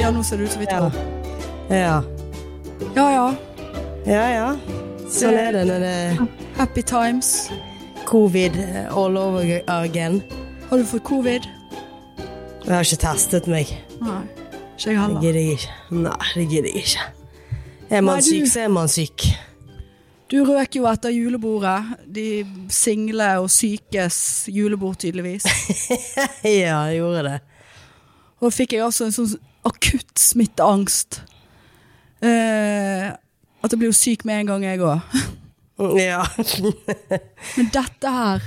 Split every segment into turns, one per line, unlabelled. Ja, nå ser det ut som vi
Ja.
tar opp.
Ja.
Ja ja.
Ja, ja. Sånn er det når det er
Happy times.
covid all over uh, again.
Har du fått covid?
Jeg har ikke testet meg.
Nei. Ikke jeg
Det
heller.
gidder jeg ikke. Nei, det gidder jeg ikke. Er man
Nei, du-
syk, så er man syk.
Du røk jo etter julebordet. De single og sykes julebord, tydeligvis.
Ja, jeg gjorde det.
Og da fikk jeg altså en sånn akutt smitteangst. Eh, at jeg blir jo syk med en gang, jeg òg.
Mm, Ja.
Men dette her,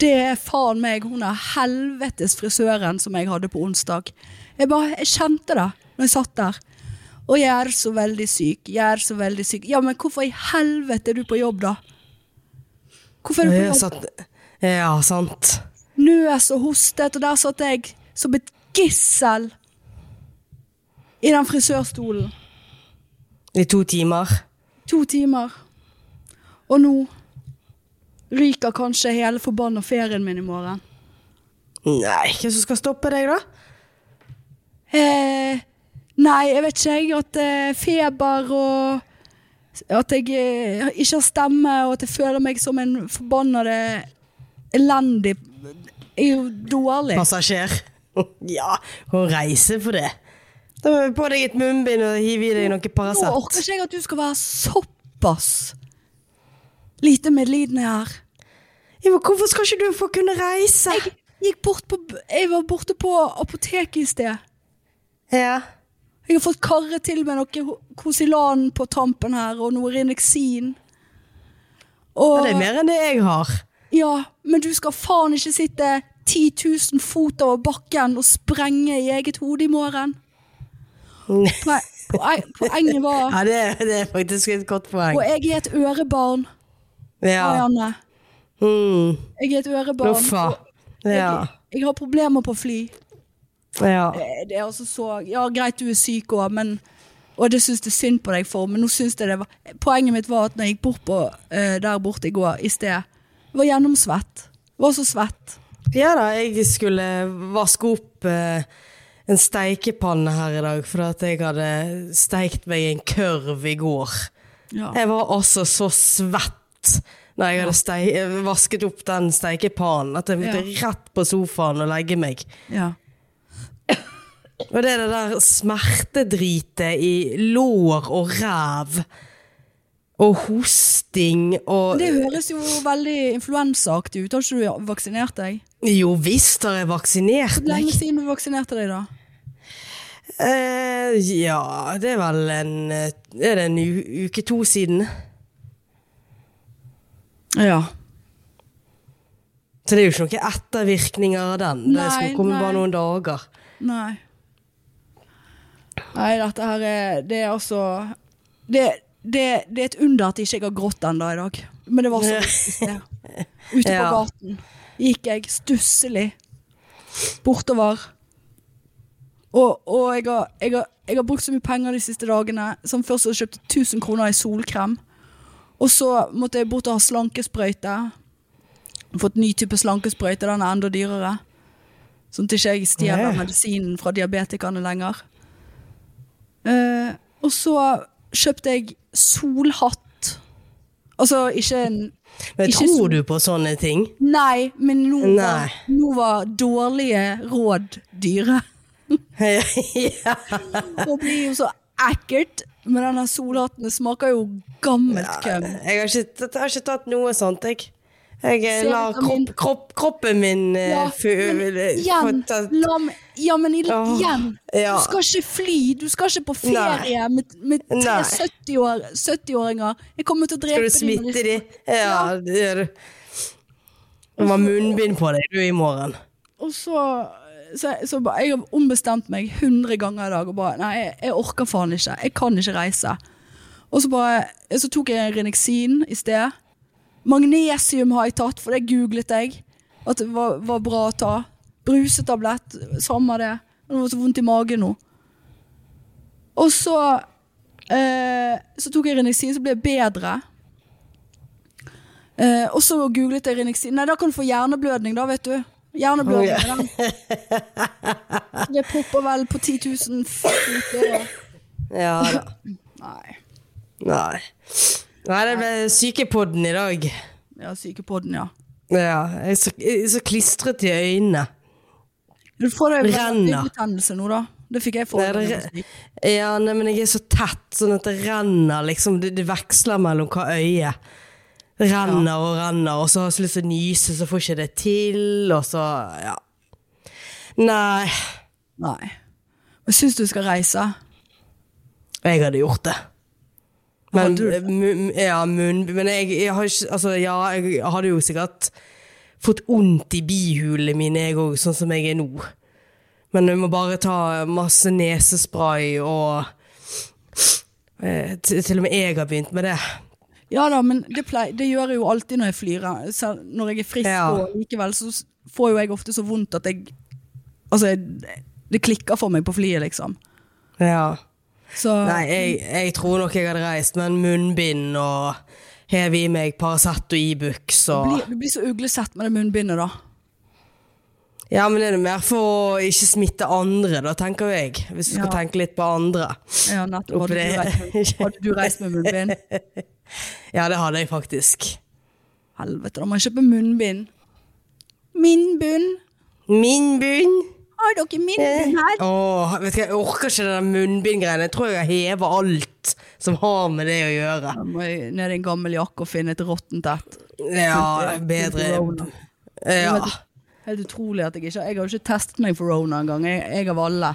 det er faen meg hun er helvetes frisøren som jeg hadde på onsdag. Jeg bare, jeg kjente det når jeg satt der. Og jeg er så veldig syk, jeg er så veldig syk. Ja, men hvorfor i helvete er du på jobb, da? Hvorfor er du på
Ja,
jobb?
sant. Ja, sant.
Nøs og hostet, og der satt jeg som et gissel i den frisørstolen.
I to timer.
To timer. Og nå ryker kanskje hele forbanna ferien min i morgen.
Nei, hva som skal stoppe deg, da?
Eh, nei, jeg vet ikke, jeg. At eh, feber og At jeg eh, ikke har stemme, og at jeg føler meg som en forbanna elendig Er jo dårlig.
Passasjer. Ja, og reise for det. Da må vi på deg et munnbind og hive i deg noe
Nå
Paracet.
orker ikke jeg at du skal være såpass lite medlidende her.
Ja, men hvorfor skal ikke du få kunne reise?
Jeg gikk bort på Jeg var borte på apoteket i sted.
Ja.
Jeg har fått karre til med noe Kosilan på tampen her, og noe Rinexin.
Ja,
Og
Det er mer enn det jeg har.
Ja, men du skal faen ikke sitte 10 000 fot over bakken og sprenge i eget hode i morgen. Nei, poe- poenget var
Ja, det, det er faktisk et godt poeng.
Og jeg er et ørebarn,
Ja.
Marianne.
Mm.
Jeg er et ørebarn.
Uffa.
og
Ja.
Jeg, jeg har problemer på fly.
ja.
Eh, Det er altså så Ja, greit, du er syk òg, men Og det syns jeg synd på deg for, men nå syns jeg det var Poenget mitt var at når jeg gikk bort på, eh, der borte i går i sted, jeg var gjennomsvett. Jeg Var så svett.
Ja da, jeg skulle vaske opp eh, en steikepanne her i dag, for at jeg hadde steikt meg i en kørv i går.
Ja.
Jeg var altså så svett når jeg hadde stei- eh, vasket opp den steikepannen, at jeg måtte rett på sofaen og legge meg.
ja.
Og det er det der smertedritet i lår og ræv, og hosting og
Det høres jo veldig influensaaktig ut. Har ikke du vaksinert deg?
Jo visst har jeg vaksinert
Hvor
meg.
lenge siden du vaksinerte deg, da?
Eh, ja, det er vel en eh, Er det en u uke to siden?
Ja.
Så det er jo ikke noen ettervirkninger av den. det
Nei,
skulle komme bare
nei.
noen dager.
Nei. Nei, dette her er Det er altså Det, det, det er et under at ikke jeg har grått ennå i dag. Men det var så vidt i sted. Ute på
Ja.
gaten gikk jeg stusslig bortover. Og, og jeg, har, jeg, har, jeg har brukt så mye penger de siste dagene. Som først hadde kjøpt 1000 kroner i solkrem. Og så måtte jeg bort og ha slankesprøyte. Fått ny type slankesprøyte, den er enda dyrere. Sånn at ikke jeg stjeler
Ja.
medisinen fra diabetikerne lenger. Eh, og så kjøpte jeg solhatt. Altså ikke en
Men
Ikke
tror
så-
du på sånne ting?
Nei, men nå,
Nei.
Var, nå var dårlige råd dyre.
ja.
Det blir jo så ekkelt. Men denne solhatten det smaker jo gammelt køm.
Jeg har ikke, jeg har ikke tatt noe sånt, jeg. Jeg eh,
Ser
lar
ut av min-
kropp, kropp, kroppen min eh,
Ja,
fø-
men
eh,
igjen,
få tatt-
la meg, ja, men i-
Åh,
igjen.
ja.
Du skal ikke fly. Du skal ikke på ferie med, med tre
Nei.
70-år- 70-åringer. jeg kommer til å
Skal
drepe
du smitte de? Ja,
Ja.
det gjør du. Du må ha munnbind på deg du i morgen.
Og så, så, så ba- Jeg har ombestemt meg 100 ganger i dag og bare Nei, jeg, jeg orker faen ikke. Jeg kan ikke reise. Og så bare Så tok jeg Renexin i sted. Magnesium har jeg tatt, for det googlet jeg. At det var, var bra å ta. Brusetablett, samme det. Det var så vondt i magen nå. Og så eh, Så tok jeg Renexin, så ble jeg bedre. Eh, og så googlet jeg Renexin. Nei, da kan du få hjerneblødning, da, vet du. Gjerne blå med den. Det popper vel på 10 000 fuckings år.
Ja da.
Nei.
Nei. Nei, det ble sykepodden i dag.
Ja, sykepodden, ja.
Ja, jeg er så, jeg er så klistret i øynene.
Du får deg
Renner.
betennelse nå, da. Det fikk jeg
Nei, det
forrige
re- Ja, nei, men jeg er så tett, sånn at det renner liksom. Det, det veksler mellom hva øyet Det renner og renner, og så har jeg så lyst til å nyse, så får ikke det til, og så Ja. Nei.
Nei. Jeg syns du skal reise.
Jeg hadde gjort det. Men, eh,
Hadde du det?
mu- ja, munn, men jeg, jeg har ikke Altså, ja, jeg hadde jo sikkert fått vondt i bihulene mine, jeg òg, sånn som jeg er nå. Men jeg må bare ta masse nesespray og eh, t- Til og med jeg har begynt med det.
Ja da, men det, plei- det gjør jeg jo alltid når jeg flyr. Selv når jeg er frisk
Ja.
og likevel, så s- får jo jeg ofte så vondt at jeg Altså, jeg, det klikker for meg på flyet, liksom.
Ja.
Så
Nei, jeg, jeg tror nok jeg hadde reist, men munnbind og hev i meg Paracet og Ibux og
blir, du blir så uglesett med det munnbindet, da.
Ja, men er det mer for å ikke smitte andre, da, tenker jo jeg. Hvis du
Ja.
skal tenke litt på andre.
Ja, nettopp.
Oppi
Hadde du,
det.
reist, med- hadde du reist med munnbind?
Ja, det hadde jeg faktisk.
Helvete, da må jeg kjøpe munnbind. Munnbind?
Min bunn!
Har dere munnbind her?
Åh, vet du hva, jeg orker ikke den munnbindgreiene. Jeg tror jeg hever alt som har med det å gjøre.
Da må jeg ned i en gammel jakke og finne et råttent et.
Ja,
Fullt-
bedre
fullt corona.
Ja.
Helt- Helt utrolig at jeg ikke Jeg har jo ikke testet meg for Rona engang. Jeg, jeg av alle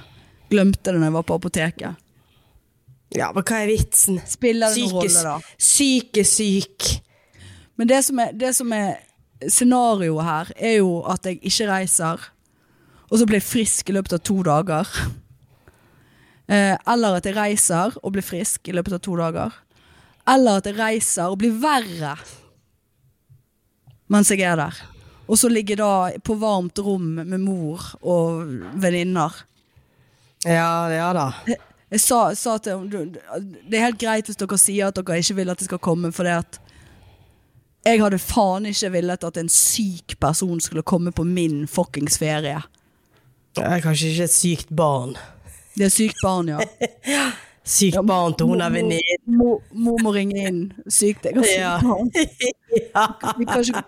glemte det når jeg var på apoteket.
ja, men hva er vitsen?
Spiller det noen
Syke-
rolle, da?
Syke syk.
Men det som er, det som er scenarioet her, er jo at jeg ikke reiser, og så blir jeg frisk i løpet av to dager. Eh, Eller at jeg reiser og blir frisk i løpet av to dager. Eller at jeg reiser og blir verre mens jeg er der. Og så ligger jeg da på varmt rom med mor og venninner.
Ja, ja da.
Jeg sa, sa til henne du- du- Det er helt greit hvis dere sier at dere ikke vil at det skal komme, fordi at jeg hadde faen ikke villet at en syk person skulle komme på min fuckings ferie.
Jeg er kanskje ikke et sykt barn.
Det er sykt barn, ja.
Sykt barn til hun er venninne.
Mor mor må ringe inn. Sykt. Jeg har sykt
Ja.
barn. Vi kan, ikke,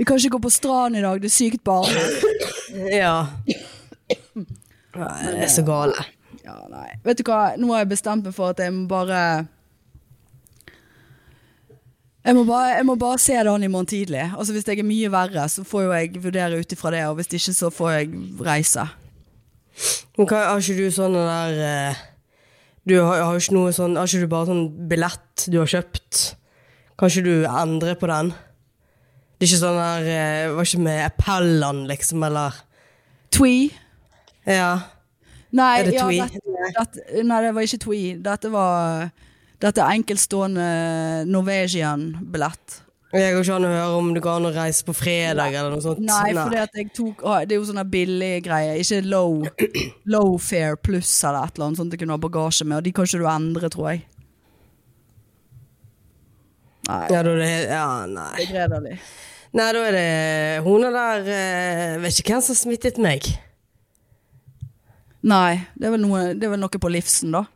vi kan ikke gå på stranden i dag, det er sykt barn.
Ja. Nei, det er så gale.
Ja, nei. Vet du hva, nå har jeg bestemt meg for at jeg må bare jeg må, bare, jeg må bare se det an i morgen tidlig. Altså Hvis jeg er mye verre, så får jo jeg vurdere ut ifra det. Og hvis ikke, så får jeg reise.
Men hva, har ikke du sånne der eh, Du har, har ikke noe sånn Har ikke du bare sånn billett du har kjøpt? Kan ikke du endre på den? Det er ikke sånn der eh, Var ikke med appellene, liksom, eller
Twee?
Ja.
Nei,
Er det
ja,
twee?
Dette, dette, nei, det var ikke twee. Dette var Dette er enkeltstående Norwegian-billett.
Jeg går ikke an å høre om det går an å reise på fredag eller noe sånt.
Nei, for det, at jeg tok, å, det er jo sånne billige greier. Ikke low, low fare pluss eller et eller annet sånt jeg kunne ha bagasje med. Og de kan ikke du endre, tror jeg. Nei,
Ja, da er det Ja, nei.
det er gredelig.
Nei, da er det Hun er der eh, Vet ikke hvem som smittet meg.
Nei, det er, vel noe, det er vel noe på livsen, da.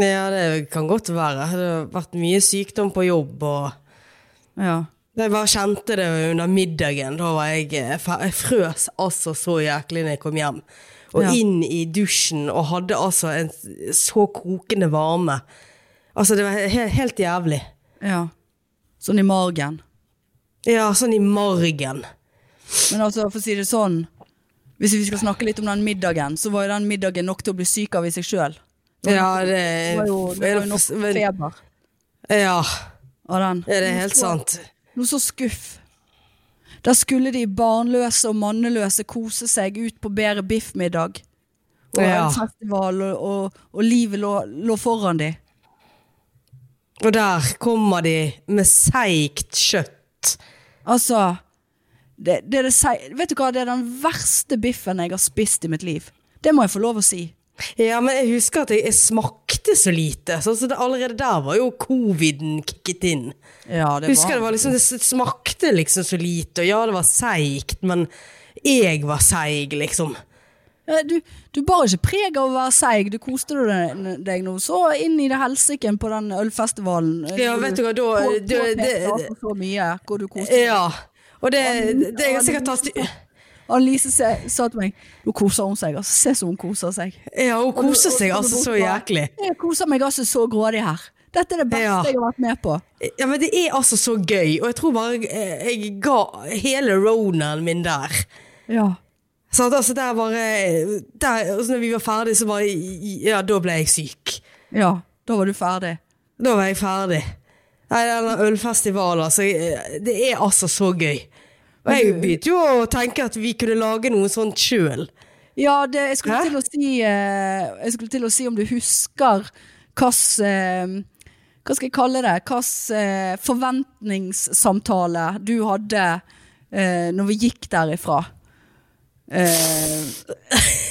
Ja, det kan godt være. Det har vært mye sykdom på jobb og
Ja.
Jeg bare kjente det under middagen. Da var jeg, eh, fe- jeg frøs altså så jæklig når jeg kom hjem. Og
Ja.
inn i dusjen og hadde altså en s- så kokende varme. Altså, det var he helt jævlig.
ja. Sånn i margen.
Ja, sånn i margen.
Men altså, for å si det sånn Hvis vi skal snakke litt om den middagen, så var jo den middagen nok til å bli syk av i seg sjøl.
Ja,
Det
det
var jo, det var jo nok
men-
feber
Ja,
av den.
er det er helt sant.
Noe så skuff. Der skulle de barnløse og manneløse kose seg ut på bedre biffmiddag. Og
Ja.
en festival, og, og, og livet lå, lå foran de.
Og der kommer de med seigt kjøtt.
Altså det, det er det, sei- Vet du hva, det er den verste biffen jeg har spist i mitt liv. Det må jeg få lov å si.
Ja, men jeg husker at jeg, jeg smakte så lite. Sånn så det, allerede der var jo coviden kicket inn.
Ja,
Jeg husker det var liksom, det smakte liksom så lite, og ja, det var seigt, men jeg var seig, liksom.
Ja, Du, du bar ikke preg av å være seig. Du koste du deg- deg nå så inn i det helsiken på den ølfestivalen.
Ja, vet du hva, da
På-
det, det,
påpekte altså så mye hvor du koste deg.
Ja. Og det, det er sikkert tatt
Annelise se- sa til meg Nå koser hun seg, altså. Se som hun koser seg.
Ja, hun koser seg altså så jæklig.
Jeg koser meg altså så grådig her. Dette er det beste
Ja.
jeg har vært med på.
Ja, men det er altså så gøy, og jeg tror bare eh, jeg ga hele ronaen min der.
Ja.
Så at, altså, der bare der, altså, Når vi var ferdig, så bare Ja, da ble jeg syk.
ja. Da var du ferdig.
Da var jeg ferdig. Nei, denne ølfestivalen, altså. eh, Det er altså så gøy. Og jeg begynte jo å tenke at vi kunne lage noe sånt sjøl.
Ja, det, jeg, skulle
Hæ?
til å si, eh, jeg skulle til å si om du husker hvilken eh, Hva skal jeg kalle det? Hvilken eh, forventningssamtale du hadde eh, når vi gikk derifra. Eh,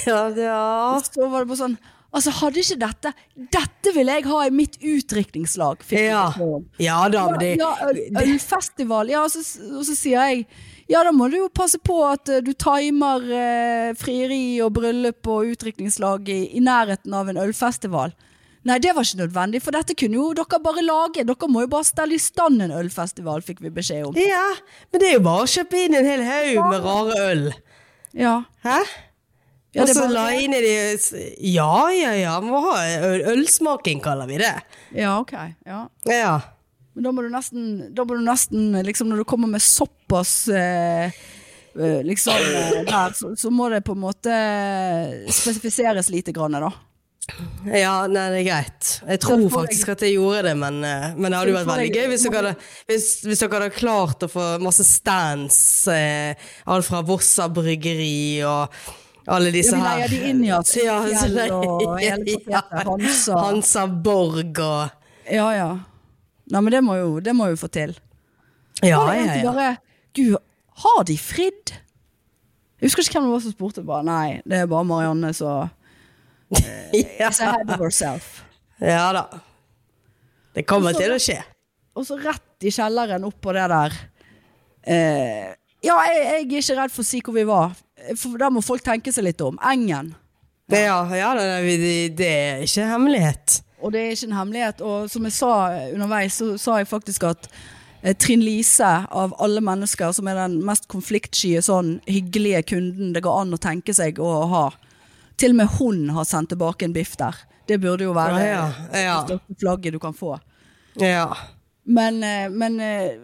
Ja, ja.
så var det bare sånn Altså, hadde ikke dette Dette ville jeg ha i mitt utdrikningslag. fikk vi
Ja.
beskjed om.
ja da, men det
ja, øl, ølfestival. Ja, og så, og så sier jeg ja, da må du jo passe på at eh, du timer eh, frieri og bryllup og utdrikningslag i, i nærheten av en ølfestival. Nei, det var ikke nødvendig, for dette kunne jo dere bare lage. Dere må jo bare stelle i stand en ølfestival, fikk vi beskjed om.
Ja, men det er jo bare å kjøpe inn en hel haug med rare øl.
Ja,
Hæ?
Ja,
og
det er
så
bare-
la inn i de Ja, ja, ja, må ha øl, ølsmaking, kaller vi det.
ja ok. Ja.
Ja.
Men da må du nesten, da må du nesten liksom, Når du kommer med såpass eh, eh, liksom eh, der, så, så må det på en måte spesifiseres lite grann, da.
ja, nei, det er greit. Jeg tror faktisk at jeg gjorde det, men, eh, men det hadde jo vært veldig gøy hvis dere hadde, hvis, hvis dere hadde klart å få masse stands. Eh, alt fra Vossa bryggeri og alle disse
Ja, vi
her.
leier de inn, ja. Fjell
leier-
og hele paketet, Hansa.
Hansa Borg og
Ja, ja. Nei, men det må jo, det må jo få til.
Ja,
Var det en
ja,
som
ja.
Bare, Gud, har de fridd? Jeg husker ikke hvem det var som spurte. Bare, nei, det er bare Marianne, så
ja.
Say hi to herself.
Ja da. Det kommer
Og så-
til å skje.
Og så rett i kjelleren opp på det der. Eh, ja, jeg, jeg er ikke redd for å si hvor vi var. For der må folk tenke seg litt om. Engen.
Det, ja, ja det, det, det er ikke hemmelighet.
Og det er ikke en hemmelighet. Og som jeg sa underveis, så sa jeg faktisk at eh, Trinn Lise, av alle mennesker, som er den mest konfliktsky, sånn hyggelige kunden det går an å tenke seg å ha, til og med hun har sendt tilbake en biff der. Det burde jo være
Ja, ja, ja.
det største flagget du kan få.
Ja.
Men, eh, men eh,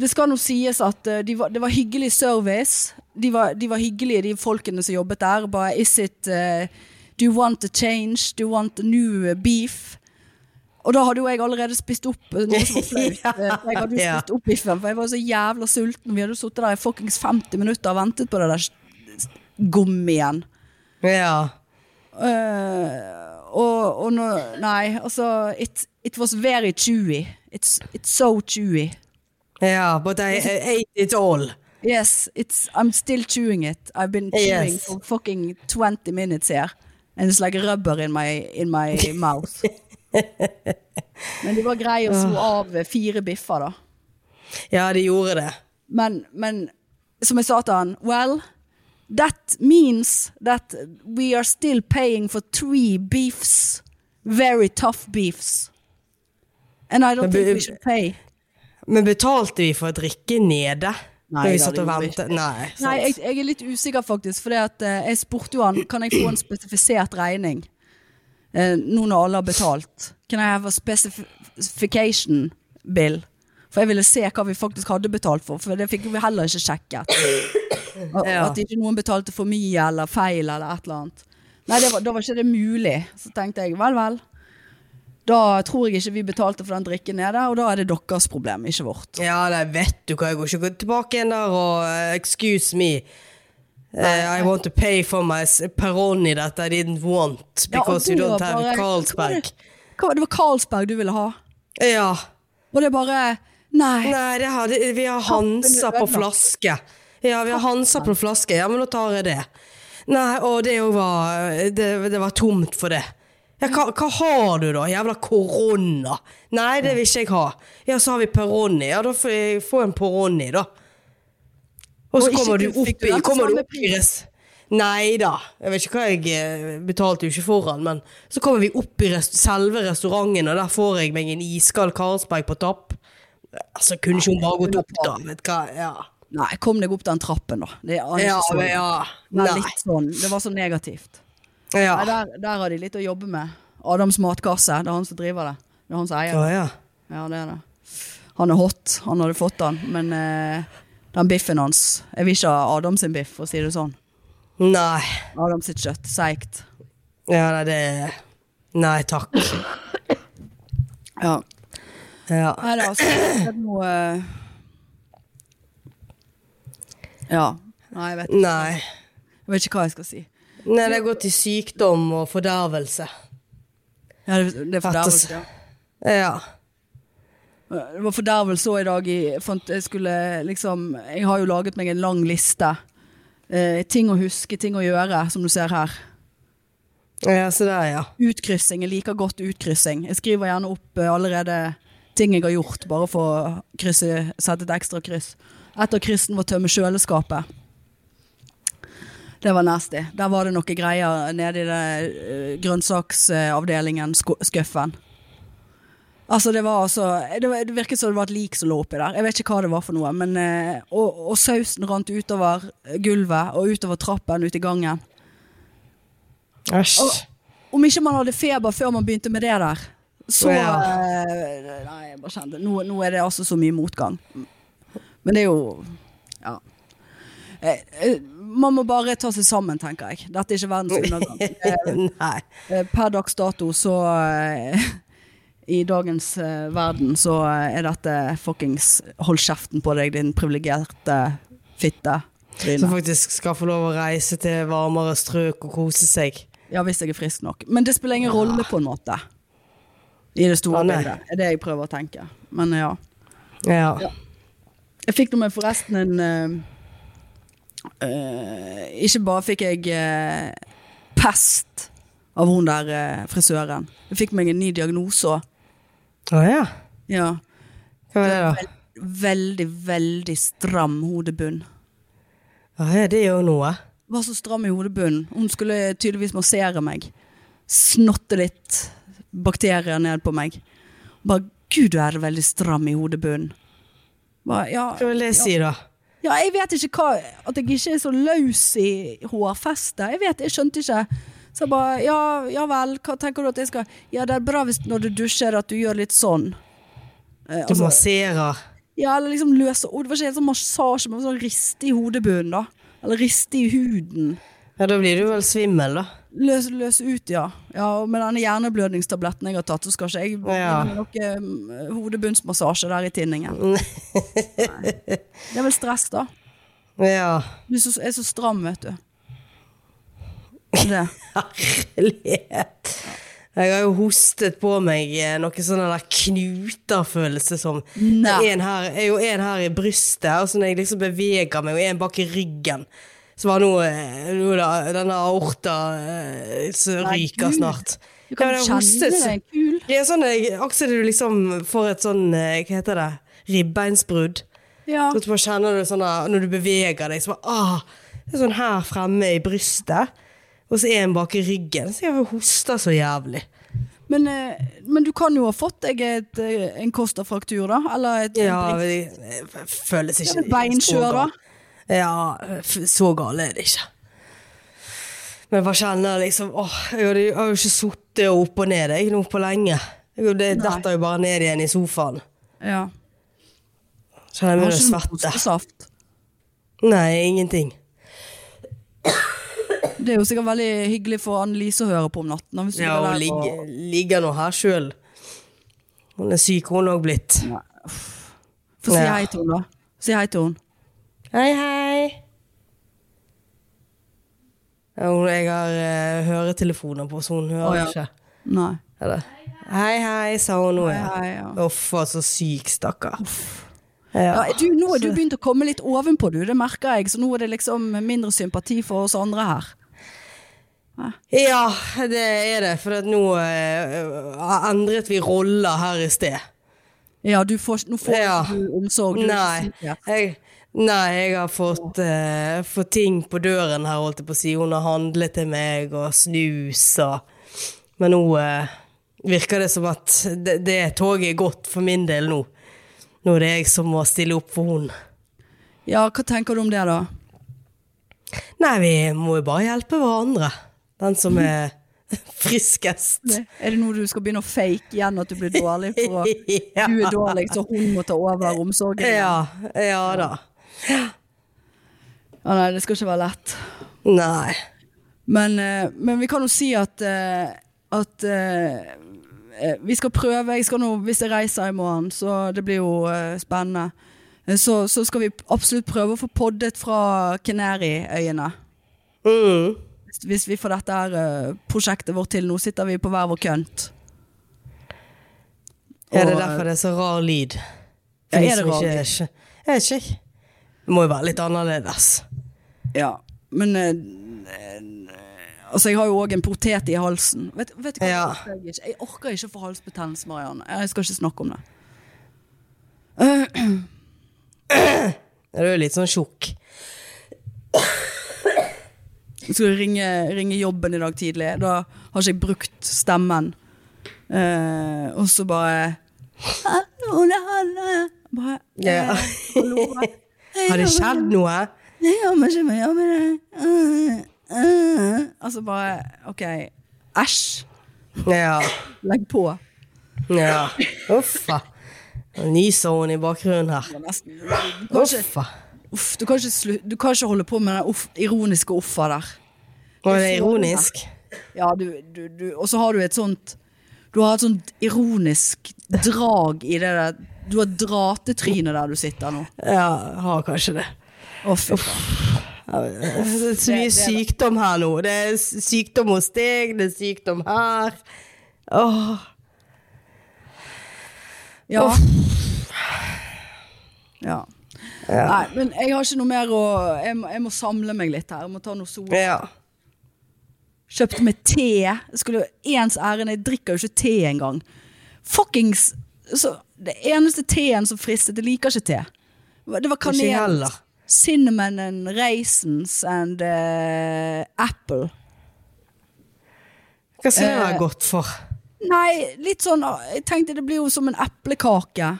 det skal nå sies at eh, de var, det var hyggelig service. De var, de var hyggelige, de folkene som jobbet der. Bare is it eh, Do you want a change? Do you want a new eh, beef? Og da hadde jo jeg allerede spist opp eh, noe som var flaut.
Ja.
eh, for Jeg hadde jo
Ja.
spist opp biffen, for jeg var så jævla sulten. Vi hadde jo sittet der i fuckings 50 minutter og ventet på det der s- gummien.
ja.
Eh, og, og nå Nei, altså it, it was very chewy. It's, it's so chewy.
Ja, but I, I ate it all.
Yes, it's, I'm still chewing it. I've been chewing
Yes.
for fucking 20 minutes here. And it's like rubber in my, in my mouth. men de var greie og slo
Ah.
av fire biffer, da.
Ja, de gjorde det.
Men, men som jeg sa til han, well, that means that we are still paying for three beefs. Very tough beefs. And I don't
Men
think
bu-
we should pay.
Men betalte vi for å drikke nede?
Nei,
når vi
da,
satt
det
og
gjorde vi
ventet? Nei. sant.
Nei, jeg, jeg er litt usikker faktisk, for jeg spurte jo han, kan jeg få en spesifisert regning? Eh, nå når alle har betalt. Can I have a specification bill? For jeg ville se hva vi faktisk hadde betalt for, for det fikk vi heller ikke sjekket. Og- og
Ja.
At ikke noen betalte for mye eller feil eller et eller annet. Nei, det var, da var ikke det mulig. Så tenkte jeg, vel, vel. Da tror jeg ikke vi betalte for den drikken nede, og da er det deres problem, ikke vårt.
Ja, nei, vet du hva, jeg går ikke tilbake igjen der og eh, Excuse me. Eh, I want to pay for my s- Peroni that I didn't want
Ja, og
because you
da
don't have
bare-
Carlsberg.
Hva var det- Det var Carlsberg du ville ha.
Ja.
Og det er bare Nei.
Nei, det har, det, vi har Hansa på flaske. Ja, vi har Hansa på flaske. Ja, men nå tar jeg det. Nei, og det jo var det, det var tomt for det. Ja, hva, hva har du da? Jævla korona. Nei, det vil ikke jeg ha. Ja, så har vi Peroni. Ja, da får jeg få en Peroni, da. Og så
Og ikke
kommer du
du- fikk
opp
du
i
den til
kommer du
samme
opp i res... Nei da. Jeg vet ikke hva jeg eh, betalte jo ikke foran, men så kommer vi opp i rest selve restauranten, og der får jeg meg en iskald Carlsberg på tapp. Altså, kunne ikke hun bare gått opp, da? Vet du hva? Ja.
Nei, kom deg opp den trappen, da. Det er
Ja,
ikke så-
men ja.
Det er
Nei.
litt sånn. Det var så negativt.
Ja.
Nei, der, der har de litt å jobbe med. Adams matkasse. Det er han som driver det. Det er han som eier det.
Ja, ja.
Ja, det er det. Han er hot. Han hadde fått den, men eh, den biffen hans Jeg vil ikke ha Adam sin biff, for å si det sånn.
Nei.
Adam sitt kjøtt. Seigt.
Ja, nei, det Nei takk.
Ja.
Ja.
Nei, det er altså det er noe eh, Ja. Nei, jeg vet,
Nei.
jeg vet ikke hva jeg skal si.
Nei, det går til sykdom og fordervelse.
Ja, det, det er fordervelse. ja.
Ja.
Det var fordervelse òg i dag. Jeg, fant, jeg, skulle, liksom, jeg har jo laget meg en lang liste. Eh, ting å huske, ting å gjøre, som du ser her.
Ja, se der, ja.
Utkryssing. Jeg liker godt utkryssing. Jeg skriver gjerne opp eh, allerede ting jeg har gjort, bare for å krysse, sette et ekstra kryss. Et av kryssene var å tømme kjøleskapet. Det var nasty. Der var det noe greier nede i det eh, grønnsaksavdelingen, sko- skuffen. Altså, det var altså Det, var, det virket som det var et lik som lå oppi der. Jeg vet ikke hva det var for noe. Men, eh, og, og sausen rant utover gulvet og utover trappen, ut i gangen.
Æsj.
Om ikke man hadde feber før man begynte med det der, så
Ja.
eh, Nei, jeg bare kjente nå, nå er det altså så mye motgang. Men det er jo Ja. Eh, eh, Man må bare ta seg sammen, tenker jeg. Dette er ikke verdens undergang. Eh,
Nei.
Eh, Per dags dato så eh, I dagens eh, verden så eh, er dette fuckings Hold kjeften på deg, din privilegerte fitte. Trine.
Som faktisk skal få lov å reise til varmere strøk og kose seg.
Ja, hvis jeg er frisk nok. Men det spiller ingen rolle, på en måte. I det store
Ja, nei.
bildet. Det er det jeg prøver å tenke. Men ja.
Ja.
Jeg fikk nå meg forresten en eh, eh, Ikke bare fikk jeg eh, pest av hun der eh, frisøren. Jeg fikk meg en ny diagnose òg.
Å ja.
Ja.
Hva var det, da?
Vel- Veldig, veldig stram hodebunn.
Å ja, det er jo noe.
Var så stram i hodebunnen. Hun skulle tydeligvis massere meg. Snotte litt bakterier ned på meg. Bare Gud, du er veldig stram i hodebunnen. Bare, ja,
Hva vil det si, da?
ja, jeg vet ikke hva At jeg ikke er så løs i hårfestet. Jeg vet, jeg skjønte ikke. Så jeg bare Ja, ja vel, hva tenker du at jeg skal Ja, det er bra hvis når du dusjer at du gjør litt sånn. Eh,
Du
altså-
masserer.
Ja, eller liksom løse ord. Det var ikke helt sånn massasje, men sånn riste i hodebunnen, da. Eller riste i huden.
Ja, da blir du vel svimmel, da.
Løse, løse ut, ja. ja. og Med denne hjerneblødningstabletten jeg har tatt, så skal ikke jeg begynne
Ja.
med noe mm, hodebunnsmassasje der i tinningen. Nei. Det er vel stress, da.
Ja.
Du er så, er så stram, vet du. Det.
Herlighet. Jeg har jo hostet på meg eh, noe sånn der knuterfølelse som
Nei.
en her, er jo en her i brystet, og så når jeg liksom beveger meg, og en bak i ryggen, så var nå eh, nå da- denne aorta eh, som
Nei,
ryker
Gud.
snart.
Du kan
Ja, men jeg
kjenne
hostet så-
det er kul.
Det er sånn, jeg, akkurat du liksom får et sånn, eh, hva heter det, ribbeinsbrudd.
Ja.
Så at du bare kjenner det sånn der, når du beveger deg, så bare ah, Det er sånn her fremme i brystet, og så er en bak i ryggen. Så jeg hoster så jævlig.
Men, eh, men du kan jo ha fått deg et, eh, en kostafraktur, da. Eller et
Ja, det føles ikke
Ja, men beinskjør, da?
Ja, f- så gale er det ikke. Men jeg bare kjenner liksom åh, Jeg hadde- jeg har jo ikke sittet opp og ned jeg, nå på lenge. Jeg- Det
Nei.
detter jo bare ned igjen i sofaen.
ja.
Kjenner jeg
Har
begynner
ikke noe
å svette.
kostesaft.
Nei, ingenting.
Det er jo sikkert veldig hyggelig for Annelise å høre på om natten. da, Hvis du
Ja,
ligger
hun
der og-
ligger, ligger nå her sjøl. Hun er syk, hun òg blitt.
Få si
Ja.
hei til henne, da. Si hei til henne.
Hei, hei. Ja, hun, jeg har eh, høretelefoner på, så hun hører
Å, ja.
ikke.
Nei.
Eller? Hei, hei, sa hun nå. ja.
Hei, hei, ja.
Uff, altså syk, stakkar.
Ja,
Ja.
er du, nå er du begynt å komme litt ovenpå, du. Det merker jeg. Så nå er det liksom mindre sympati for oss andre her.
ja, det er det. For at nå eh, endret vi roller her i sted.
Ja, du får, nå får
Ja.
du omsorg. Du er ikke
Nei.
syk her.
Jeg, Nei, jeg har fått, eh, fått ting på døren her, holdt jeg på å si. Hun har handlet til meg og snus og Men nå eh, virker det som at det, det toget er gått for min del nå. Nå er det jeg som må stille opp for hun.
Ja, hva tenker du om det, da?
Nei, vi må jo bare hjelpe hverandre. Den som er friskest.
Er det nå du skal begynne å fake igjen at du blir dårlig for å
Ja.
du er dårlig, så hun må ta over omsorgen?
Ja, ja da.
Ja, nei, det skal ikke være lett.
Nei.
Men, eh, men vi kan jo si at, eh, at eh, eh, vi skal prøve. Jeg skal nå, hvis jeg reiser i morgen, så det blir jo eh, spennende. Eh, Så, så skal vi absolutt prøve å få poddet fra Kanariøyene.
Mm.
Hvis- Hvis vi får dette her eh, prosjektet vårt til. Nå sitter vi på hver vår kønt.
Er det
Og- eh,
derfor det er så rar lyd?
Ja,
For de
er det
som
rar
ikke- Jeg vet ikke. Det må jo være litt annerledes.
Ja, men eh, eh, Altså, jeg har jo òg en potet i halsen. Vet, vet du hva?
Ja.
Jeg, orker ikke. jeg orker ikke å få halsbetennelse, Marianne. Jeg skal ikke snakke om det. Eh,
Du er jo litt sånn tjukk.
Jeg skulle ringe, ringe jobben i dag tidlig. Da har ikke jeg brukt stemmen. Eh, og så bare Hallo, det er Hanne. Bare,
Ja.
eh, hallo.
Har det skjedd noe?
Nei, jeg har ikke mye med det. Eh, eh. Altså bare OK. Æsj.
Ja.
Legg på.
ja. Uffa. Nå Nyser hun i bakgrunnen her.
Det var nesten- Du kan ikke,
Uffa.
uff, du, kan ikke slu, du kan ikke holde på med den uff, ironiske uffa der.
Var det ironisk?
Ja, du, du, du, og så har du et sånt Du har et sånt ironisk drag i det der Du har dratetrynet der du sitter nå.
Ja, har kanskje det.
Å, fy faen.
Det er så mye
Det- det er
sykdom her nå. Det er sykdom hos deg, det er sykdom her. Åh.
Ja. ja. Nei, men jeg har ikke noe mer å Jeg må, jeg må samle meg litt her. Jeg må ta noe sol.
Ja.
Kjøpte meg te. Skulle jo ens ærend, jeg drikker jo ikke te engang. Fuckings så, Det eneste teen som fristet, jeg liker ikke te. Det var
Ikke
kanel,
heller.
cinnamon and raisins and eh, apple.
Hva skal det
Eh.
være godt for?
Nei, litt sånn ah, Jeg tenkte det blir jo som en eplekake.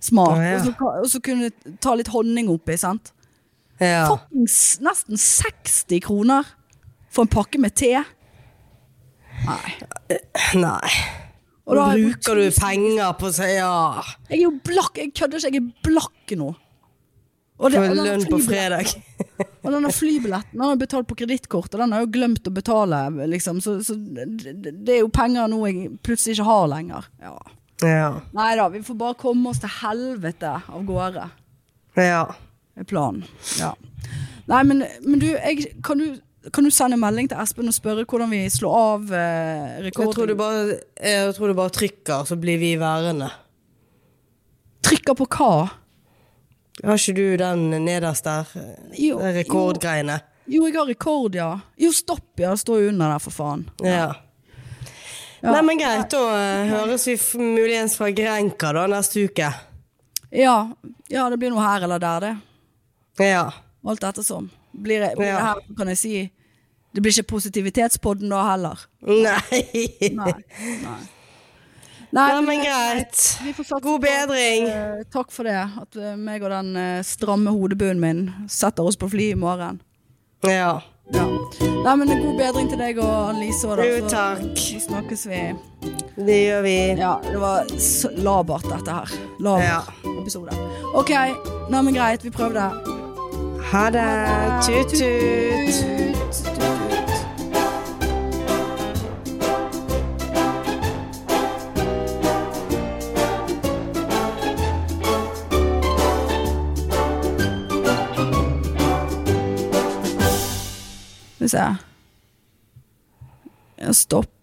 Smak.
Å, ja.
og, så, ka- og så kunne jeg ta litt honning oppi, sant.
Ja.
Fuckings nesten 60 kroner for en pakke med te. Nei.
Nei.
Og da har jeg brukt
bruker du penger på å si ja.
Jeg er jo blakk, jeg kødder ikke, jeg er blakk nå. Og, det-
Få
og denne
lønn på
flybillett-
fredag.
og denne flybilletten har jeg betalt på kredittkort, og den har jeg jo glemt å betale, liksom. Så, så det, det er jo penger nå jeg plutselig ikke har lenger. Ja.
Ja.
Nei da, vi får bare komme oss til helvete av gårde,
Ja.
er planen. Ja. Nei, men, men du, jeg, kan du kan du sende en melding til Espen og spørre hvordan vi slår av eh,
Jeg tror, du
rekorden?
bare, jeg tror du bare trykker, så blir vi værende.
Trykker på hva?
Har ikke du den nederst der?
Jo,
Den rekordgreiene.
Jo, jeg har rekord, ja. Jo, stopp, ja. Det står jo under der, for faen.
Ja. Nei, men greit. Da eh, høres vi f- muligens fra Grenka da neste uke.
Ja, ja, det blir noe her eller der, det.
Ja.
Alt ettersom. Blir, det- blir
Ja.
det her, så kan jeg si Det blir ikke posivititetspodden da heller.
Nei.
Nei. Nei,
Nei,
men
men greit.
vi får satse på
God
at,
bedring.
eh, takk for det. At eh, meg og den eh, stramme hodebunnen min setter oss på fly i morgen.
Ja.
Ja. Nei, men god bedring til deg og Annelise òg, da.
Jo,
så
takk.
snakkes vi.
Det gjør vi.
Ja, det var s- labert, dette her. Labert episode. OK, nei, men greit. Vi prøvde.
Ha det. Tut-tut.
Tut, tut, tut. Skal vi se. Ja, stopp.